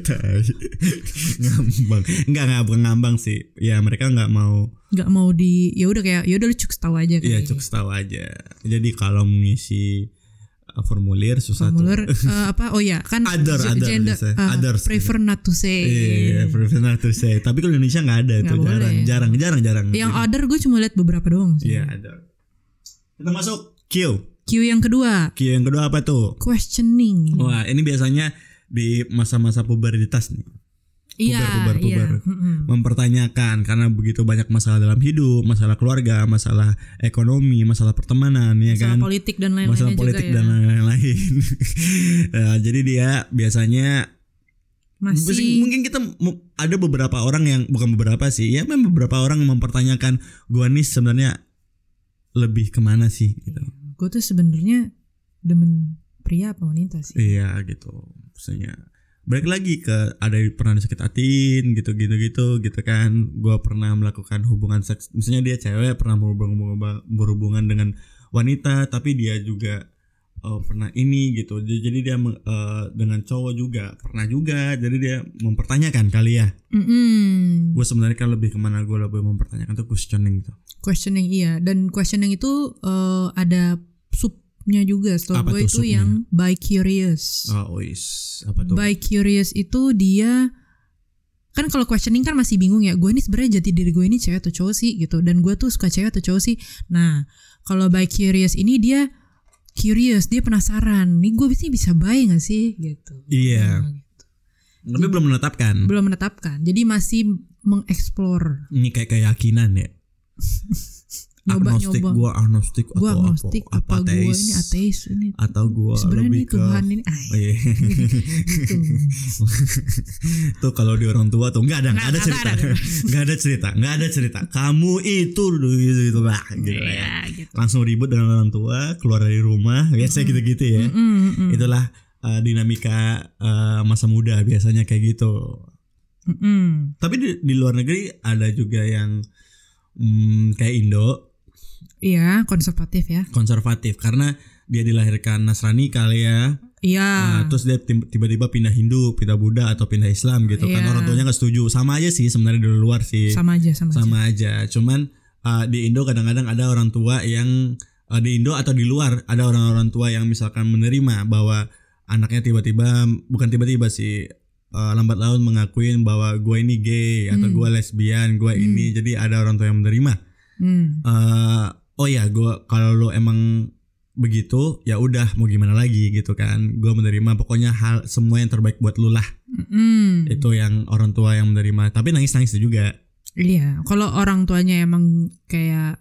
[SPEAKER 1] Tai. ngambang. Enggak enggak bukan ngambang sih. Ya mereka nggak mau
[SPEAKER 2] nggak mau di ya udah kayak ya udah lu cuks tahu
[SPEAKER 1] ya
[SPEAKER 2] aja kayak gitu.
[SPEAKER 1] cukup tahu aja. Jadi kalau mengisi uh, formulir susah
[SPEAKER 2] formuler
[SPEAKER 1] tuh.
[SPEAKER 2] eh, apa oh ya kan
[SPEAKER 1] Other,
[SPEAKER 2] ge-
[SPEAKER 1] other
[SPEAKER 2] gender
[SPEAKER 1] biasanya.
[SPEAKER 2] eh,
[SPEAKER 1] Others
[SPEAKER 2] prefer not to say
[SPEAKER 1] Iya, profesional tuh saya. Tapi kalau Indonesia nggak ada itu
[SPEAKER 2] Nggak boleh.
[SPEAKER 1] jarang, jarang, jarang, jarang.
[SPEAKER 2] yang
[SPEAKER 1] Jadi-
[SPEAKER 2] other gue cuma lihat beberapa doang sih
[SPEAKER 1] Iya, ada. Kita masuk Q.
[SPEAKER 2] Q yang kedua
[SPEAKER 1] Q yang kedua apa tuh?
[SPEAKER 2] questioning
[SPEAKER 1] Wah, ini biasanya di masa-masa pubertas nih.
[SPEAKER 2] iya
[SPEAKER 1] puber, puber,
[SPEAKER 2] iya
[SPEAKER 1] puber.
[SPEAKER 2] mm-mm.
[SPEAKER 1] mempertanyakan karena begitu banyak masalah dalam hidup, masalah keluarga, masalah ekonomi, masalah pertemanan ya kan.
[SPEAKER 2] masalah politik dan ya. lain-lain
[SPEAKER 1] masalah politik
[SPEAKER 2] juga
[SPEAKER 1] dan
[SPEAKER 2] ya
[SPEAKER 1] lain-lain. Nah, jadi dia biasanya Mungkin-
[SPEAKER 2] masih
[SPEAKER 1] Mungkin kita mu- ada beberapa orang yang bukan beberapa sih, ya memang beberapa orang yang mempertanyakan gua nih sebenarnya lebih kemana sih gitu.
[SPEAKER 2] gue tuh sebenarnya demen pria apa wanita sih
[SPEAKER 1] Iya gitu. Maksudnya balik lagi ke ada yang pernah disakit hatin gitu gitu gitu gitu kan. Gua pernah melakukan hubungan seks. Misalnya dia cewek pernah berhubung- berhubung- berhubungan dengan wanita tapi dia juga eh, pernah ini gitu. J- Jadi dia meng- eh, dengan cowok juga pernah juga. Jadi dia mempertanyakan kali ya.
[SPEAKER 2] Mm-mm.
[SPEAKER 1] Gue sebenarnya kan lebih kemana gue lebih mempertanyakan tuh questioning gitu.
[SPEAKER 2] questioning iya dan questioning itu eh, ada subnya juga setahu
[SPEAKER 1] Apa
[SPEAKER 2] gue
[SPEAKER 1] tuh
[SPEAKER 2] itu
[SPEAKER 1] subnya?
[SPEAKER 2] yang by curious
[SPEAKER 1] Oh, ois apa tuh?
[SPEAKER 2] by curious itu dia kan kalau questioning kan masih bingung ya gue ini sebenarnya jati diri gue ini cewek atau cowok sih gitu dan gue tuh suka cewek atau cowok sih nah kalau by curious ini dia curious dia penasaran nih gue bisa bisa by nggak sih gitu
[SPEAKER 1] Iya.
[SPEAKER 2] Nah, gitu.
[SPEAKER 1] Tapi belum menetapkan.
[SPEAKER 2] belum menetapkan jadi masih mengeksplor
[SPEAKER 1] Ini kayak keyakinan ya.
[SPEAKER 2] nyoba
[SPEAKER 1] agnostik
[SPEAKER 2] nyoba
[SPEAKER 1] gua agnostik atau
[SPEAKER 2] gue agnostik
[SPEAKER 1] apa,
[SPEAKER 2] apa, gue
[SPEAKER 1] ateis,
[SPEAKER 2] ini ateis ini
[SPEAKER 1] atau gua
[SPEAKER 2] sebenarnya
[SPEAKER 1] lebih
[SPEAKER 2] ini
[SPEAKER 1] ke
[SPEAKER 2] Tuhan ya. ini ay,
[SPEAKER 1] Oh, iya.
[SPEAKER 2] gitu.
[SPEAKER 1] tuh kalau di orang tua tuh nggak ada nggak ada
[SPEAKER 2] Nggak, nggak
[SPEAKER 1] cerita
[SPEAKER 2] ada,
[SPEAKER 1] nggak ada cerita nggak ada cerita kamu itu dulu gitu gitu bah gitu
[SPEAKER 2] Iya,
[SPEAKER 1] ya
[SPEAKER 2] gitu.
[SPEAKER 1] langsung ribut dengan orang tua keluar dari rumah biasanya gitu gitu ya
[SPEAKER 2] Mm, mm, mm.
[SPEAKER 1] itulah eh, dinamika eh, masa muda biasanya kayak gitu
[SPEAKER 2] Mm, mm.
[SPEAKER 1] tapi di, di luar negeri ada juga yang mm, kayak Indo
[SPEAKER 2] iya konservatif ya
[SPEAKER 1] konservatif karena dia dilahirkan Nasrani kali ya Nah,
[SPEAKER 2] iya
[SPEAKER 1] terus dia tim- tiba-tiba pindah Hindu pindah Buddha atau pindah Islam gitu kan
[SPEAKER 2] Iya.
[SPEAKER 1] orang tuanya nggak setuju sama aja sih sebenarnya dari luar sih sama,
[SPEAKER 2] sama aja sama, aja.
[SPEAKER 1] aja cuman uh, di Indo kadang-kadang ada orang tua yang uh, di Indo atau di luar ada orang-orang tua yang misalkan menerima bahwa anaknya tiba-tiba bukan tiba-tiba sih uh, lambat laun mengakuin bahwa gue ini gay atau
[SPEAKER 2] Hmm.
[SPEAKER 1] gue lesbian gue ini jadi ada orang tua yang menerima
[SPEAKER 2] Hmm.
[SPEAKER 1] eh oh ya gua kalau lu emang begitu ya udah mau gimana lagi gitu kan gue menerima pokoknya hal semua yang terbaik buat lu lah
[SPEAKER 2] Mm-mm.
[SPEAKER 1] itu yang orang tua yang menerima tapi nangis nangis juga
[SPEAKER 2] Iya, kalau orang tuanya emang kayak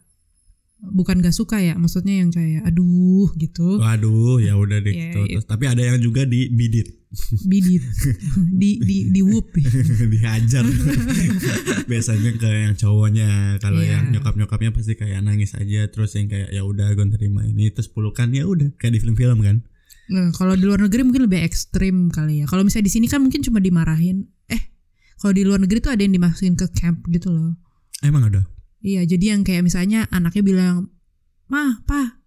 [SPEAKER 2] bukan gak suka ya, maksudnya yang kayak aduh gitu,
[SPEAKER 1] waduh ya udah deh
[SPEAKER 2] Iya,
[SPEAKER 1] gitu.
[SPEAKER 2] iya.
[SPEAKER 1] Terus- tapi ada yang juga dibidit
[SPEAKER 2] bidit, di di di whoop. ya.
[SPEAKER 1] dihajar biasanya ke yang cowoknya kalau
[SPEAKER 2] Iya.
[SPEAKER 1] yang nyokap nyokapnya pasti kayak nangis aja terus yang kayak ya udah gue terima ini terus pelukan ya udah kayak di film-film kan
[SPEAKER 2] Nah, kalau di luar negeri mungkin lebih ekstrim kali ya. Kalau misalnya di sini kan mungkin cuma dimarahin. Eh, kalau di luar negeri tuh ada yang dimasukin ke camp gitu loh.
[SPEAKER 1] emang ada
[SPEAKER 2] Iya, jadi yang kayak misalnya anaknya bilang, "Mah, Pa,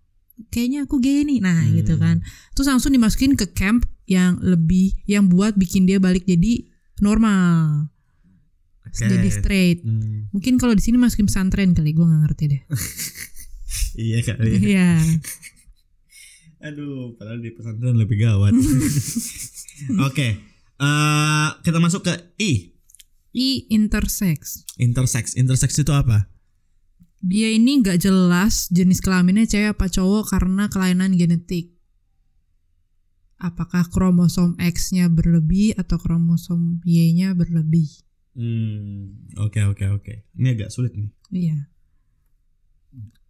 [SPEAKER 2] kayaknya aku gay nih." Nah,
[SPEAKER 1] Hmm.
[SPEAKER 2] gitu kan. Terus langsung dimasukin ke camp yang lebih yang buat bikin dia balik jadi normal.
[SPEAKER 1] Oke.
[SPEAKER 2] Jadi straight.
[SPEAKER 1] Hmm,
[SPEAKER 2] Mungkin kalau di sini masukin pesantren kali, gua nggak ngerti deh.
[SPEAKER 1] iya kali ya.
[SPEAKER 2] Iya.
[SPEAKER 1] Aduh, padahal di pesantren lebih gawat. Oke, eh, kita masuk ke I,
[SPEAKER 2] I intersex.
[SPEAKER 1] intersex. Intersex itu apa?
[SPEAKER 2] Dia ini nggak jelas jenis kelaminnya cewek apa cowok karena kelainan genetik. Apakah kromosom X-nya berlebih atau kromosom Y-nya berlebih?
[SPEAKER 1] Hmm, oke oke oke. Ini agak sulit nih.
[SPEAKER 2] Iya.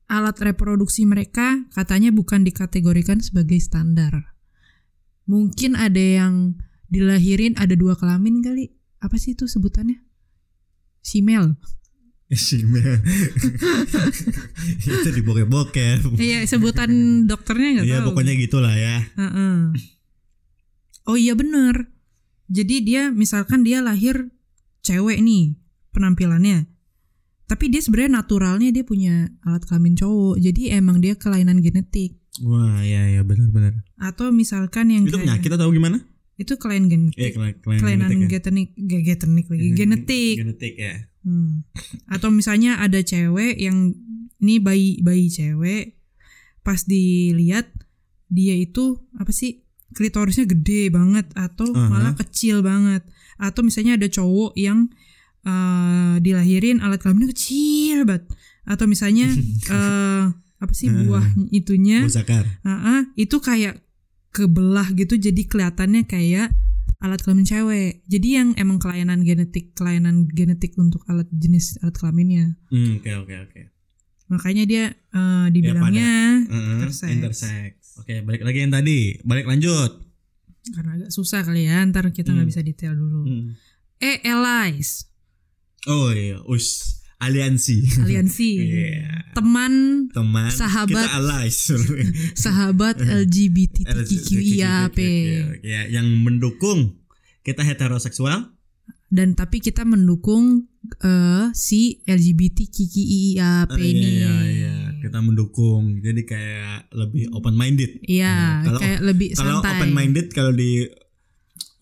[SPEAKER 2] Alat reproduksi mereka katanya bukan dikategorikan sebagai standar. Mungkin ada yang dilahirin ada dua kelamin kali. Apa sih itu sebutannya? Simel.
[SPEAKER 1] Shimel. itu di bokep-bokep.
[SPEAKER 2] Iya, sebutan dokternya nggak
[SPEAKER 1] Iya,
[SPEAKER 2] tahu.
[SPEAKER 1] pokoknya gitulah ya.
[SPEAKER 2] Heeh. Oh iya bener. Jadi dia misalkan dia lahir cewek nih penampilannya. Tapi dia sebenarnya naturalnya dia punya alat kelamin cowok. Jadi emang dia kelainan genetik.
[SPEAKER 1] Wah, iya iya benar-benar.
[SPEAKER 2] atau misalkan yang
[SPEAKER 1] Itu
[SPEAKER 2] kayak-
[SPEAKER 1] penyakit atau gimana?
[SPEAKER 2] itu kelainan
[SPEAKER 1] Iya,
[SPEAKER 2] genetik
[SPEAKER 1] kelainan
[SPEAKER 2] kelainan
[SPEAKER 1] genetik ya.
[SPEAKER 2] genetik ge- genetik lagi genetik
[SPEAKER 1] Genetik ya.
[SPEAKER 2] Hmm. atau misalnya ada cewek yang ini bayi bayi cewek pas dilihat dia itu apa sih klitorisnya gede banget atau
[SPEAKER 1] Aha.
[SPEAKER 2] malah kecil banget atau misalnya ada cowok yang eh, dilahirin alat kelaminnya kecil banget atau misalnya eh, apa sih
[SPEAKER 1] Hmm.
[SPEAKER 2] buah itunya
[SPEAKER 1] Musakar.
[SPEAKER 2] Heeh, itu kayak kebelah gitu jadi kelihatannya kayak alat kelamin cewek. Jadi yang emang kelainan genetik, kelainan genetik untuk alat jenis alat kelaminnya.
[SPEAKER 1] Hmm, oke oke oke.
[SPEAKER 2] Makanya dia
[SPEAKER 1] Ya,
[SPEAKER 2] eh, dibilangnya
[SPEAKER 1] Heeh,
[SPEAKER 2] intersex.
[SPEAKER 1] Intersex. Oke, balik lagi yang tadi. Balik lanjut.
[SPEAKER 2] karena agak susah kali ya ntar kita nggak
[SPEAKER 1] Hmm.
[SPEAKER 2] bisa detail dulu
[SPEAKER 1] Hmm.
[SPEAKER 2] eh allies
[SPEAKER 1] Oh iya, us aliansi.
[SPEAKER 2] aliansi
[SPEAKER 1] Iya.
[SPEAKER 2] teman
[SPEAKER 1] Teman
[SPEAKER 2] Sahabat.
[SPEAKER 1] kita allies. Eh,
[SPEAKER 2] sahabat LGBTQIA
[SPEAKER 1] Ya, yang mendukung kita heteroseksual.
[SPEAKER 2] dan tapi kita mendukung eh, si LGBTQIA
[SPEAKER 1] Eh,
[SPEAKER 2] ini
[SPEAKER 1] Iya, iya, kita mendukung. Jadi kayak lebih open minded.
[SPEAKER 2] Iya,
[SPEAKER 1] Hmm, Kalau-
[SPEAKER 2] kayak lebih
[SPEAKER 1] Kalau
[SPEAKER 2] santai
[SPEAKER 1] open minded kalau di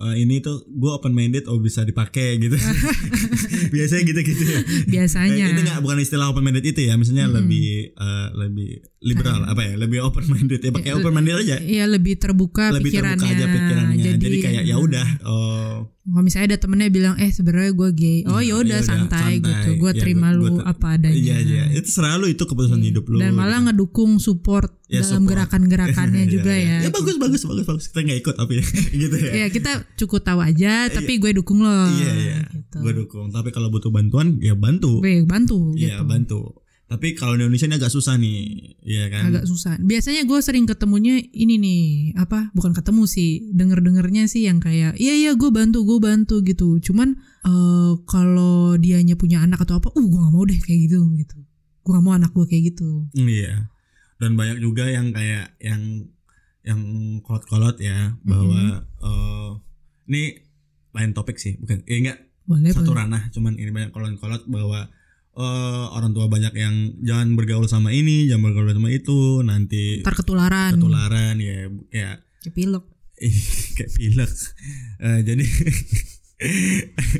[SPEAKER 1] eh, ini tuh gue open minded oh bisa dipakai gitu. Biasanya gitu-gitu ya.
[SPEAKER 2] biasanya
[SPEAKER 1] Eh, itu nggak bukan istilah open minded itu ya, maksudnya
[SPEAKER 2] Mm-mm.
[SPEAKER 1] lebih eh, lebih liberal
[SPEAKER 2] Kayak-
[SPEAKER 1] apa ya? Lebih open minded ya pakai
[SPEAKER 2] Eh,
[SPEAKER 1] open minded aja.
[SPEAKER 2] Iya lebih terbuka
[SPEAKER 1] Lebih
[SPEAKER 2] pikirannya.
[SPEAKER 1] terbuka
[SPEAKER 2] hmm.
[SPEAKER 1] aja pikirannya. Jadi, kayak ya udah oh,
[SPEAKER 2] Kalau misalnya ada temennya bilang eh sebenarnya gue gay. Oh
[SPEAKER 1] Iya,
[SPEAKER 2] ya udah
[SPEAKER 1] yaudah,
[SPEAKER 2] santai,
[SPEAKER 1] santai.
[SPEAKER 2] gitu. Gue
[SPEAKER 1] Iya,
[SPEAKER 2] terima
[SPEAKER 1] gua-
[SPEAKER 2] lu
[SPEAKER 1] gua ter-
[SPEAKER 2] apa adanya. Iya.
[SPEAKER 1] iya iya itu selalu itu keputusan hidup lu.
[SPEAKER 2] Dan malah
[SPEAKER 1] gitu.
[SPEAKER 2] ngedukung support
[SPEAKER 1] Ya,
[SPEAKER 2] dalam
[SPEAKER 1] support.
[SPEAKER 2] gerakan-gerakannya
[SPEAKER 1] Iya,
[SPEAKER 2] juga
[SPEAKER 1] iya.
[SPEAKER 2] ya.
[SPEAKER 1] Ya bagus bagus bagus bagus kita nggak ikut tapi gitu ya.
[SPEAKER 2] Ya kita cukup tahu aja tapi gue dukung lo.
[SPEAKER 1] Iya iya.
[SPEAKER 2] Gitu.
[SPEAKER 1] Gue dukung. Tapi kalau butuh bantuan ya bantu.
[SPEAKER 2] Weh, bantu
[SPEAKER 1] Iya
[SPEAKER 2] gitu.
[SPEAKER 1] bantu. Tapi kalau di Indonesia ini agak susah nih, iya kan?
[SPEAKER 2] Agak susah. Biasanya gue sering ketemunya ini nih apa? Bukan ketemu sih, denger dengernya sih yang kayak iya iya gue bantu gue bantu gitu. Cuman eh, kalau dianya punya anak atau apa, uh gue gak mau deh kayak gitu gitu. Gue gak mau anak gue kayak gitu.
[SPEAKER 1] Iya. Dan banyak juga yang kayak yang yang kolot-kolot ya bahwa
[SPEAKER 2] Mm-hmm.
[SPEAKER 1] eh, ini lain topik sih, bukan? Eh enggak
[SPEAKER 2] Boleh
[SPEAKER 1] satu
[SPEAKER 2] boleh.
[SPEAKER 1] ranah, cuman ini banyak kolot-kolot bahwa eh, orang tua banyak yang jangan bergaul sama ini, jangan bergaul sama itu, nanti
[SPEAKER 2] Ntar ketularan.
[SPEAKER 1] ketularan ya kayak
[SPEAKER 2] Kepilek.
[SPEAKER 1] Ih, kayak pilek Eh, jadi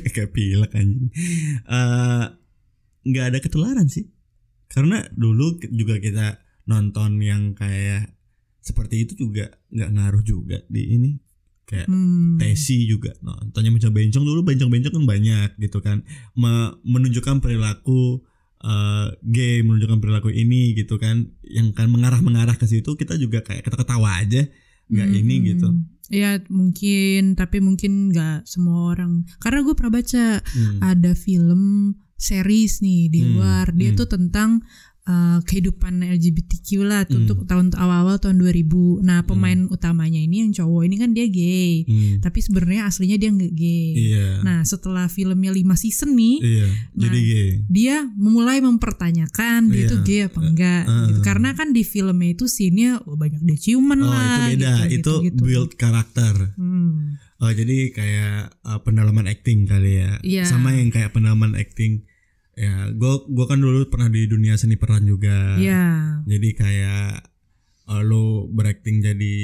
[SPEAKER 1] kayak pilek anjing Eh, nggak ada ketularan sih karena dulu ki- juga kita nonton yang kayak seperti itu juga nggak ngaruh juga di ini kayak
[SPEAKER 2] Hmm.
[SPEAKER 1] Tesi juga nontonnya bencong bencong dulu bencong bencong kan banyak gitu kan Me- menunjukkan perilaku eh, gay menunjukkan perilaku ini gitu kan yang kan mengarah mengarah ke situ kita juga kayak ketawa ketawa aja nggak ini
[SPEAKER 2] Hmm.
[SPEAKER 1] gitu
[SPEAKER 2] Iya mungkin, tapi mungkin nggak semua orang. Karena gue pernah baca
[SPEAKER 1] Hmm.
[SPEAKER 2] ada film series nih di
[SPEAKER 1] Hmm,
[SPEAKER 2] luar dia
[SPEAKER 1] hmm.
[SPEAKER 2] tuh tentang uh, kehidupan LGBTQ lah
[SPEAKER 1] Hmm.
[SPEAKER 2] tuh untuk tahun awal-awal tahun 2000 nah pemain utamanya ini yang cowok ini kan dia gay
[SPEAKER 1] Hmm.
[SPEAKER 2] tapi sebenarnya aslinya dia nggak gay
[SPEAKER 1] Iya.
[SPEAKER 2] nah setelah filmnya 5 season nih
[SPEAKER 1] iya. Jadi
[SPEAKER 2] Nah,
[SPEAKER 1] gay.
[SPEAKER 2] dia memulai mempertanyakan dia
[SPEAKER 1] Iya.
[SPEAKER 2] tuh gay apa enggak
[SPEAKER 1] eh,
[SPEAKER 2] gitu.
[SPEAKER 1] eh.
[SPEAKER 2] karena kan di filmnya itu scene-nya oh, banyak dia ciuman
[SPEAKER 1] Oh, itu
[SPEAKER 2] lah
[SPEAKER 1] beda.
[SPEAKER 2] gitu,
[SPEAKER 1] itu
[SPEAKER 2] gitu, gitu.
[SPEAKER 1] build karakter.
[SPEAKER 2] Hmm.
[SPEAKER 1] Oh, jadi kayak uh, pendalaman acting kali ya.
[SPEAKER 2] Iya.
[SPEAKER 1] Sama yang kayak pendalaman acting. Ya, gua gua kan dulu pernah di dunia seni peran juga.
[SPEAKER 2] ya
[SPEAKER 1] Jadi kayak uh, lo berakting jadi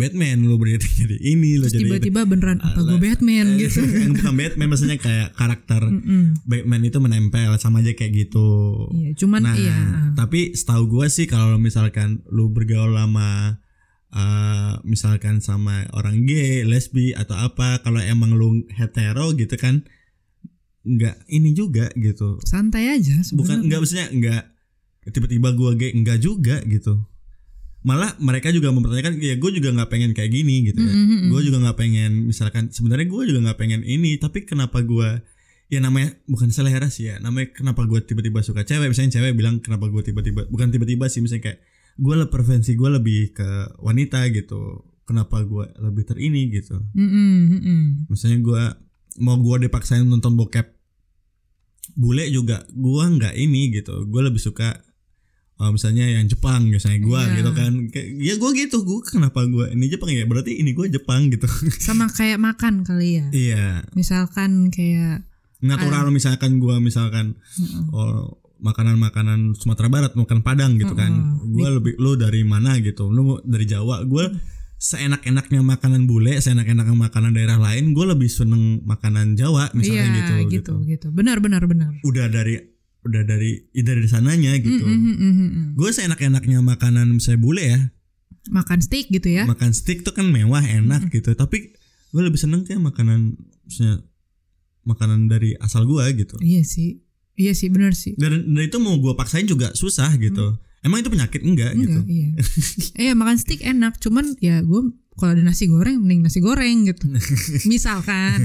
[SPEAKER 1] Batman, lo berakting jadi ini, lo
[SPEAKER 2] terus
[SPEAKER 1] jadi itu.
[SPEAKER 2] tiba-tiba beneran apa gue
[SPEAKER 1] Alah.
[SPEAKER 2] Batman gitu Hmm.
[SPEAKER 1] yang bukan Batman maksudnya kayak karakter
[SPEAKER 2] Mm-mm.
[SPEAKER 1] Batman itu menempel sama aja kayak gitu.
[SPEAKER 2] Iya, cuman
[SPEAKER 1] Nah,
[SPEAKER 2] iya.
[SPEAKER 1] tapi setahu gue sih kalau misalkan lu bergaul lama eh misalkan sama orang gay, lesbi atau apa, kalau emang lu hetero gitu kan nggak ini juga gitu.
[SPEAKER 2] Santai aja
[SPEAKER 1] Bukan
[SPEAKER 2] sebenarnya.
[SPEAKER 1] nggak maksudnya nggak tiba-tiba gue gay nggak juga gitu. Malah mereka juga mempertanyakan ya gue juga nggak pengen kayak gini gitu
[SPEAKER 2] Mm,
[SPEAKER 1] ya.
[SPEAKER 2] mm, mm, mm.
[SPEAKER 1] Gue juga nggak pengen misalkan sebenarnya gue juga nggak pengen ini tapi kenapa gue ya namanya bukan selera sih ya namanya kenapa gue tiba-tiba suka cewek misalnya cewek bilang kenapa gue tiba-tiba bukan tiba-tiba sih misalnya kayak gue lah preferensi gue lebih ke wanita gitu kenapa gue lebih terini gitu
[SPEAKER 2] Mm, mm, mm, mm.
[SPEAKER 1] misalnya gue mau gue dipaksain nonton bokep bule juga gue nggak ini gitu gue lebih suka eh, misalnya yang Jepang misalnya gue
[SPEAKER 2] Iya.
[SPEAKER 1] gitu kan Kayak, ya gue gitu gue kenapa gue ini Jepang ya berarti ini gue Jepang gitu
[SPEAKER 2] Sama kayak makan kali ya.
[SPEAKER 1] iya
[SPEAKER 2] Misalkan kayak Iya.
[SPEAKER 1] natural misalkan gua misalkan
[SPEAKER 2] Mm-mm.
[SPEAKER 1] oh, makanan-makanan Sumatera Barat makan Padang gitu kan
[SPEAKER 2] Mm-mm.
[SPEAKER 1] gua lebih lu dari mana gitu lu dari Jawa gua seenak-enaknya makanan bule seenak-enaknya makanan daerah lain gua lebih seneng makanan Jawa misalnya
[SPEAKER 2] iya,
[SPEAKER 1] gitu,
[SPEAKER 2] gitu,
[SPEAKER 1] gitu
[SPEAKER 2] gitu Benar benar benar.
[SPEAKER 1] udah dari udah dari ide dari sananya gitu
[SPEAKER 2] Mm, mm, mm, mm, mm.
[SPEAKER 1] gua seenak-enaknya makanan misalnya bule ya
[SPEAKER 2] Makan steak gitu ya.
[SPEAKER 1] makan steak tuh kan mewah enak gitu tapi gua lebih seneng kayak makanan misalnya makanan dari asal gua gitu
[SPEAKER 2] Iya sih. Iya sih benar sih.
[SPEAKER 1] dan, dan itu mau gue paksain juga susah gitu
[SPEAKER 2] Mm.
[SPEAKER 1] emang itu penyakit enggak, gitu
[SPEAKER 2] Enggak, iya. iya, makan steak enak, cuman ya gue kalau ada nasi goreng mending nasi goreng gitu. Misalkan.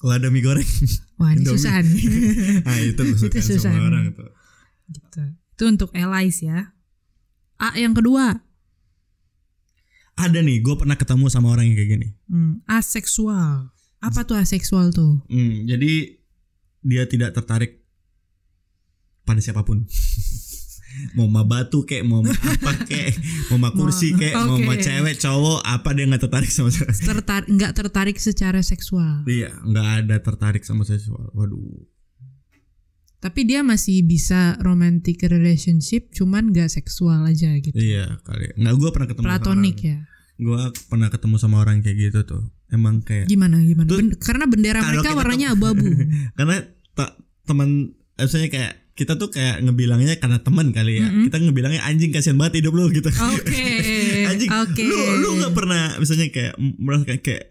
[SPEAKER 1] kalau ada mie goreng
[SPEAKER 2] Wah, ini
[SPEAKER 1] Indomie.
[SPEAKER 2] susah nih.
[SPEAKER 1] ah itu kesukaan
[SPEAKER 2] Itu susah.
[SPEAKER 1] semua orang gitu. tuh
[SPEAKER 2] gitu. Itu untuk allies ya. A yang kedua.
[SPEAKER 1] ada nih gue pernah ketemu sama orang yang kayak gini
[SPEAKER 2] Hmm, aseksual. Apa tuh aseksual tuh?
[SPEAKER 1] Hmm, jadi dia tidak tertarik pada siapapun. mau ma batu kek, mau ma apa kek, mau ma kursi
[SPEAKER 2] Mau-
[SPEAKER 1] kek, mau ma
[SPEAKER 2] oke.
[SPEAKER 1] cewek, cowok, apa dia nggak tertarik sama sekali.
[SPEAKER 2] Tertar nggak tertarik secara seksual.
[SPEAKER 1] Iya, nggak ada tertarik sama seksual. Waduh.
[SPEAKER 2] Tapi dia masih bisa romantic relationship cuman nggak seksual aja gitu.
[SPEAKER 1] Iya kali. Nggak gue pernah ketemu.
[SPEAKER 2] Platonik
[SPEAKER 1] Sama
[SPEAKER 2] ya.
[SPEAKER 1] orang. Gue pernah ketemu sama orang kayak gitu tuh. Emang kayak
[SPEAKER 2] Gimana gimana?
[SPEAKER 1] Tuh,
[SPEAKER 2] Ben- karena bendera
[SPEAKER 1] kalau
[SPEAKER 2] mereka
[SPEAKER 1] kita
[SPEAKER 2] warnanya abu-abu.
[SPEAKER 1] karena ta- teman, eh, maksudnya kayak kita tuh kayak ngebilangnya karena teman kali ya. Kita ngebilangnya anjing kasihan banget hidup lu gitu.
[SPEAKER 2] Oke.
[SPEAKER 1] anjing
[SPEAKER 2] Oke.
[SPEAKER 1] lu lu nggak pernah misalnya kayak m- merasakan kayak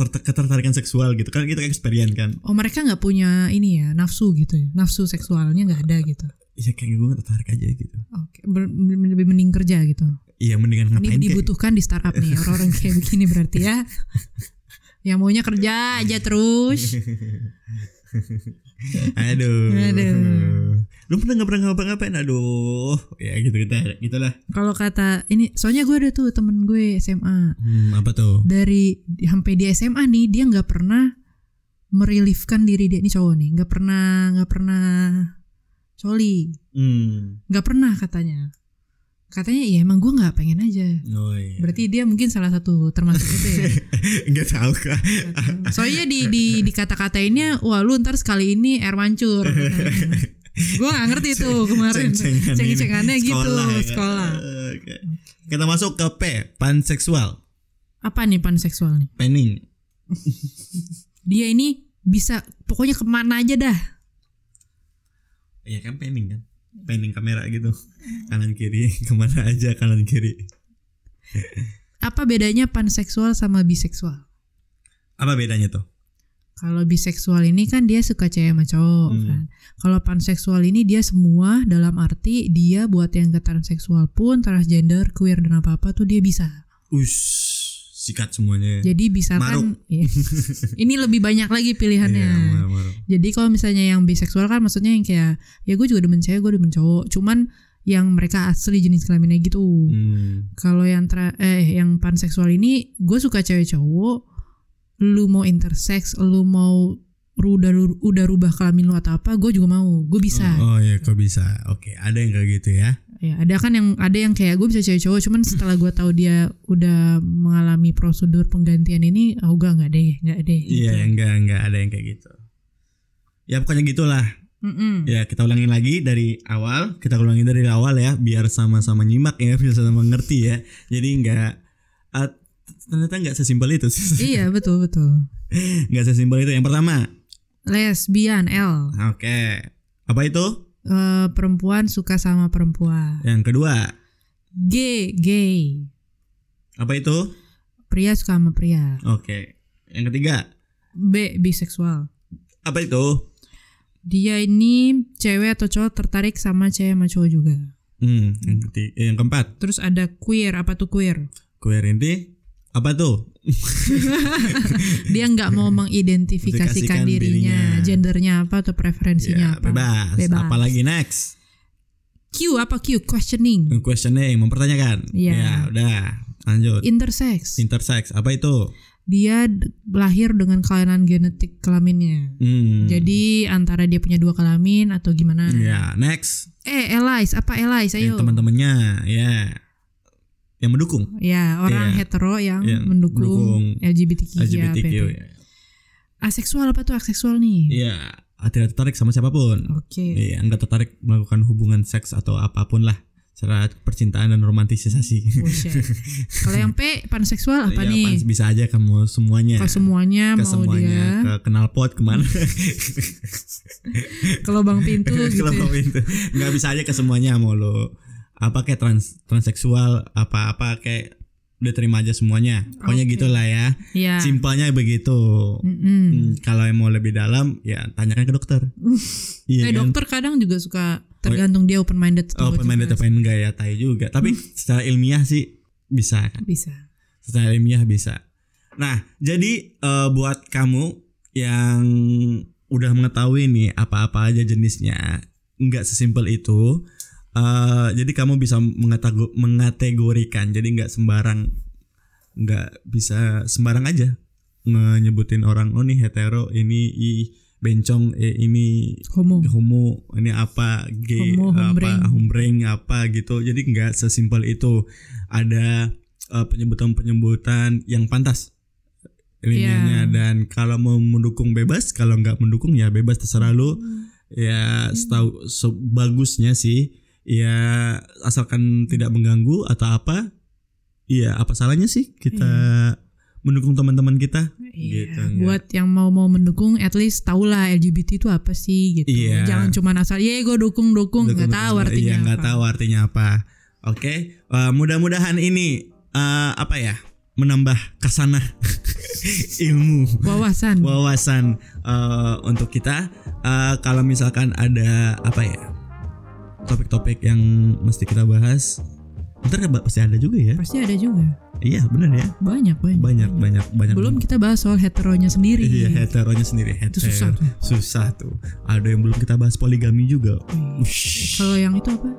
[SPEAKER 1] ter- ketertarikan seksual gitu kan kita eksperian kan
[SPEAKER 2] Oh mereka nggak punya ini ya nafsu gitu ya nafsu seksualnya nggak ada gitu.
[SPEAKER 1] ya kayak gue nggak tertarik aja gitu
[SPEAKER 2] Oke ber- lebih mending kerja gitu.
[SPEAKER 1] iya mendingan
[SPEAKER 2] Ini
[SPEAKER 1] ngapain kayak
[SPEAKER 2] dibutuhkan di startup nih orang-orang kayak begini berarti ya. Yang maunya kerja aja terus.
[SPEAKER 1] aduh.
[SPEAKER 2] Aduh.
[SPEAKER 1] lu pernah nggak pernah ngapa-ngapain aduh ya gitu kita gitulah
[SPEAKER 2] Kalau kata ini soalnya gue ada tuh temen gue SMA
[SPEAKER 1] hmm, apa tuh
[SPEAKER 2] dari sampai di SMA nih dia nggak pernah mereliefkan diri dia ini cowok nih nggak pernah nggak pernah coli
[SPEAKER 1] hmm.
[SPEAKER 2] nggak pernah katanya katanya ya emang gue nggak pengen aja
[SPEAKER 1] oh iya
[SPEAKER 2] berarti dia mungkin salah satu termasuk itu ya
[SPEAKER 1] nggak tahu kak
[SPEAKER 2] soalnya di di di kata-katainnya wah lu ntar sekali ini air mancur gue nggak ngerti tuh Oh, kemarin
[SPEAKER 1] Ceng-cengan ini.
[SPEAKER 2] ceng-cengannya gitu
[SPEAKER 1] Sekolah, ya, Kak.
[SPEAKER 2] sekolah
[SPEAKER 1] Oke. kita masuk ke P panseksual
[SPEAKER 2] apa nih panseksual nih
[SPEAKER 1] pening
[SPEAKER 2] dia ini bisa pokoknya kemana aja dah
[SPEAKER 1] Iya kan panning kan Panning kamera gitu Kanan kiri Kemana aja kanan kiri
[SPEAKER 2] apa bedanya panseksual sama biseksual
[SPEAKER 1] Apa bedanya tuh?
[SPEAKER 2] kalau biseksual ini kan dia suka cewek sama cowok
[SPEAKER 1] Hmm.
[SPEAKER 2] kan kalau panseksual ini dia semua dalam arti dia buat yang ke transseksual pun transgender queer dan apa apa tuh dia bisa
[SPEAKER 1] Us Sikat semuanya ya?
[SPEAKER 2] jadi bisa kan ini lebih banyak lagi pilihannya
[SPEAKER 1] Iya, marah-marah.
[SPEAKER 2] Jadi kalau misalnya yang biseksual kan maksudnya yang kayak ya gue juga demen cewek, gue demen cowok. Cuman yang mereka asli jenis kelaminnya gitu.
[SPEAKER 1] Hmm.
[SPEAKER 2] Kalau yang tra- eh yang panseksual ini gue suka cewek cowok. Lu mau intersex, lu mau ru- udah ru- udah rubah kelamin lu atau apa, gue juga mau. Gue bisa.
[SPEAKER 1] Oh, oh iya kok bisa Oke ada yang kayak gitu ya
[SPEAKER 2] Ya, ada kan yang ada yang kayak gue bisa cewek cowok, cuman setelah gue tahu dia udah mengalami prosedur penggantian ini, oh gue nggak deh, nggak deh.
[SPEAKER 1] Iya
[SPEAKER 2] gitu.
[SPEAKER 1] enggak enggak ada yang kayak gitu Ya pokoknya gitulah
[SPEAKER 2] Mm-mm.
[SPEAKER 1] Ya kita ulangin lagi dari awal Kita ulangin dari awal ya Biar sama-sama nyimak ya Biar sama-sama ngerti ya Jadi enggak ah, Ternyata enggak sesimpel itu sih
[SPEAKER 2] Iya betul betul.
[SPEAKER 1] Enggak sesimpel itu Yang pertama
[SPEAKER 2] Lesbian L.
[SPEAKER 1] Oke. Apa itu?
[SPEAKER 2] eh perempuan suka sama perempuan.
[SPEAKER 1] Yang kedua.
[SPEAKER 2] Gay, gay.
[SPEAKER 1] Apa itu?
[SPEAKER 2] Pria suka sama pria.
[SPEAKER 1] Oke. Yang ketiga.
[SPEAKER 2] B, biseksual.
[SPEAKER 1] Apa itu?
[SPEAKER 2] Dia ini cewek atau cowok tertarik sama cewek sama cowok juga.
[SPEAKER 1] Hmm, yang ketiga, yang keempat.
[SPEAKER 2] Terus ada queer, apa tuh queer?
[SPEAKER 1] Queer inti. Apa tuh?
[SPEAKER 2] Dia nggak mau
[SPEAKER 1] Identifikasikan
[SPEAKER 2] mengidentifikasikan dirinya,
[SPEAKER 1] dirinya.
[SPEAKER 2] gendernya apa atau
[SPEAKER 1] Ya,
[SPEAKER 2] preferensinya apa.
[SPEAKER 1] bebas.
[SPEAKER 2] Bebas.
[SPEAKER 1] Apalagi Hmm. next?
[SPEAKER 2] Q, apa Q? Questioning.
[SPEAKER 1] Questioning, mempertanyakan.
[SPEAKER 2] Iya.
[SPEAKER 1] Ya, udah. Lanjut.
[SPEAKER 2] Intersex.
[SPEAKER 1] Intersex. Apa itu?
[SPEAKER 2] Dia d- lahir dengan kelainan genetik kelaminnya.
[SPEAKER 1] Hmm.
[SPEAKER 2] Jadi antara dia punya dua kelamin atau gimana?
[SPEAKER 1] Ya, next.
[SPEAKER 2] Eh, allies, apa allies? Ayo.
[SPEAKER 1] Yang teman-temannya, ya. Yang mendukung
[SPEAKER 2] Ya,
[SPEAKER 1] Iya.
[SPEAKER 2] orang hetero yang
[SPEAKER 1] Iya, mendukung
[SPEAKER 2] mendukung LGBTQ,
[SPEAKER 1] LGBTQ.
[SPEAKER 2] ya, PP.
[SPEAKER 1] ya.
[SPEAKER 2] Aseksual apa tuh aseksual nih?
[SPEAKER 1] Iya, tidak tertarik sama siapapun.
[SPEAKER 2] Oke.
[SPEAKER 1] Iya, nggak tertarik melakukan hubungan seks atau apapun lah secara percintaan dan romantisasi.
[SPEAKER 2] Bullshit. Kalau yang P panseksual apa
[SPEAKER 1] Iya,
[SPEAKER 2] nih?
[SPEAKER 1] Pans, bisa aja kamu semuanya.
[SPEAKER 2] Kalau semuanya
[SPEAKER 1] ke
[SPEAKER 2] mau
[SPEAKER 1] semuanya,
[SPEAKER 2] dia
[SPEAKER 1] ke kenal pot kemana?
[SPEAKER 2] ke lubang pintu gitu.
[SPEAKER 1] Kalau
[SPEAKER 2] ya.
[SPEAKER 1] mau itu nggak bisa aja ke semuanya mau lo apa kayak trans transseksual apa apa kayak udah terima aja semuanya. Pokoknya
[SPEAKER 2] Oke.
[SPEAKER 1] gitulah ya.
[SPEAKER 2] Iya.
[SPEAKER 1] Simpelnya begitu.
[SPEAKER 2] Mm-mm.
[SPEAKER 1] Hmm, kalau yang mau lebih dalam ya tanyakan ke dokter.
[SPEAKER 2] Eh
[SPEAKER 1] iya kan?
[SPEAKER 2] dokter kadang juga suka tergantung dia open minded atau
[SPEAKER 1] Oh, pemain
[SPEAKER 2] juga.
[SPEAKER 1] data enggak ya tai juga. Tapi secara ilmiah sih bisa kan.
[SPEAKER 2] Bisa.
[SPEAKER 1] secara ilmiah bisa. Nah, jadi eh, buat kamu yang udah mengetahui nih apa-apa aja jenisnya, nggak sesimpel itu. Eh, jadi kamu bisa mengatago- mengategorikan. Jadi nggak sembarang nggak bisa sembarang aja nyebutin orang oh nih hetero ini i bencong eh, ini
[SPEAKER 2] homo
[SPEAKER 1] homo ini apa gay
[SPEAKER 2] Homo,
[SPEAKER 1] apa
[SPEAKER 2] hombreng.
[SPEAKER 1] hombreng apa gitu jadi nggak sesimpel itu ada eh, penyebutan-penyebutan yang pantas linianya dan kalau mau mendukung bebas kalau nggak mendukung ya bebas terserah lu ya setahu sebagusnya sih ya asalkan tidak mengganggu atau apa ya apa salahnya sih kita mendukung teman-teman kita
[SPEAKER 2] Iya,
[SPEAKER 1] Gitu, enggak.
[SPEAKER 2] buat yang mau mau mendukung, at least tahulah LGBT itu apa sih gitu.
[SPEAKER 1] Iya.
[SPEAKER 2] Jangan cuma asal, ya gue dukung dukung, nggak tahu artinya
[SPEAKER 1] iya, nggak
[SPEAKER 2] apa.
[SPEAKER 1] tahu artinya apa oke eh, mudah-mudahan ini eh, apa ya menambah kesana ilmu
[SPEAKER 2] Wawasan.
[SPEAKER 1] wawasan eh, untuk kita Eh, kalau misalkan ada apa ya topik-topik yang mesti kita bahas ntar keba- pasti ada juga ya
[SPEAKER 2] Pasti ada juga,
[SPEAKER 1] iya benar ya
[SPEAKER 2] banyak banyak.
[SPEAKER 1] banyak banyak banyak
[SPEAKER 2] Belum kita bahas soal heteronya sendiri.
[SPEAKER 1] iya heteronya sendiri
[SPEAKER 2] Itu
[SPEAKER 1] hetero
[SPEAKER 2] susah tuh.
[SPEAKER 1] susah tuh ada yang belum kita bahas poligami juga
[SPEAKER 2] Wih.
[SPEAKER 1] Ush.
[SPEAKER 2] Kalau yang itu apa?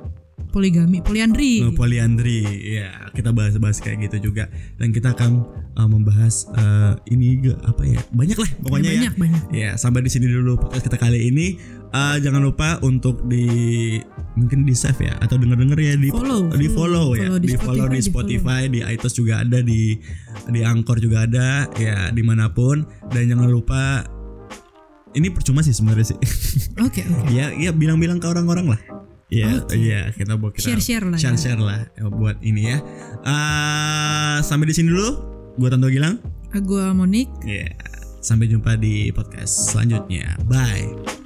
[SPEAKER 2] Poligami, poliandri.
[SPEAKER 1] Nah, poliandri ya kita bahas-bahas kayak gitu juga dan kita akan uh, membahas uh, ini juga apa ya banyak lah pokoknya ya,
[SPEAKER 2] banyak banyak.
[SPEAKER 1] ya sampai di sini dulu podcast kita kali ini Uh, jangan lupa untuk di mungkin di save ya atau denger-denger ya di
[SPEAKER 2] Follow,
[SPEAKER 1] di follow,
[SPEAKER 2] follow.
[SPEAKER 1] ya
[SPEAKER 2] Follow
[SPEAKER 1] di,
[SPEAKER 2] di
[SPEAKER 1] follow di Spotify
[SPEAKER 2] Spotify,
[SPEAKER 1] di iTunes juga ada di di Anchor juga ada ya dimanapun dan jangan lupa ini percuma sih sebenarnya sih
[SPEAKER 2] Oke oke.
[SPEAKER 1] ya ya bilang-bilang ke orang-orang lah ya
[SPEAKER 2] Oke.
[SPEAKER 1] ya kita buat kita
[SPEAKER 2] Share share lah. ya.
[SPEAKER 1] share share lah eh, buat ini ya Eh, sampai di sini dulu gue Tanto Gilang
[SPEAKER 2] Gua Monik.
[SPEAKER 1] ya sampai jumpa di podcast selanjutnya bye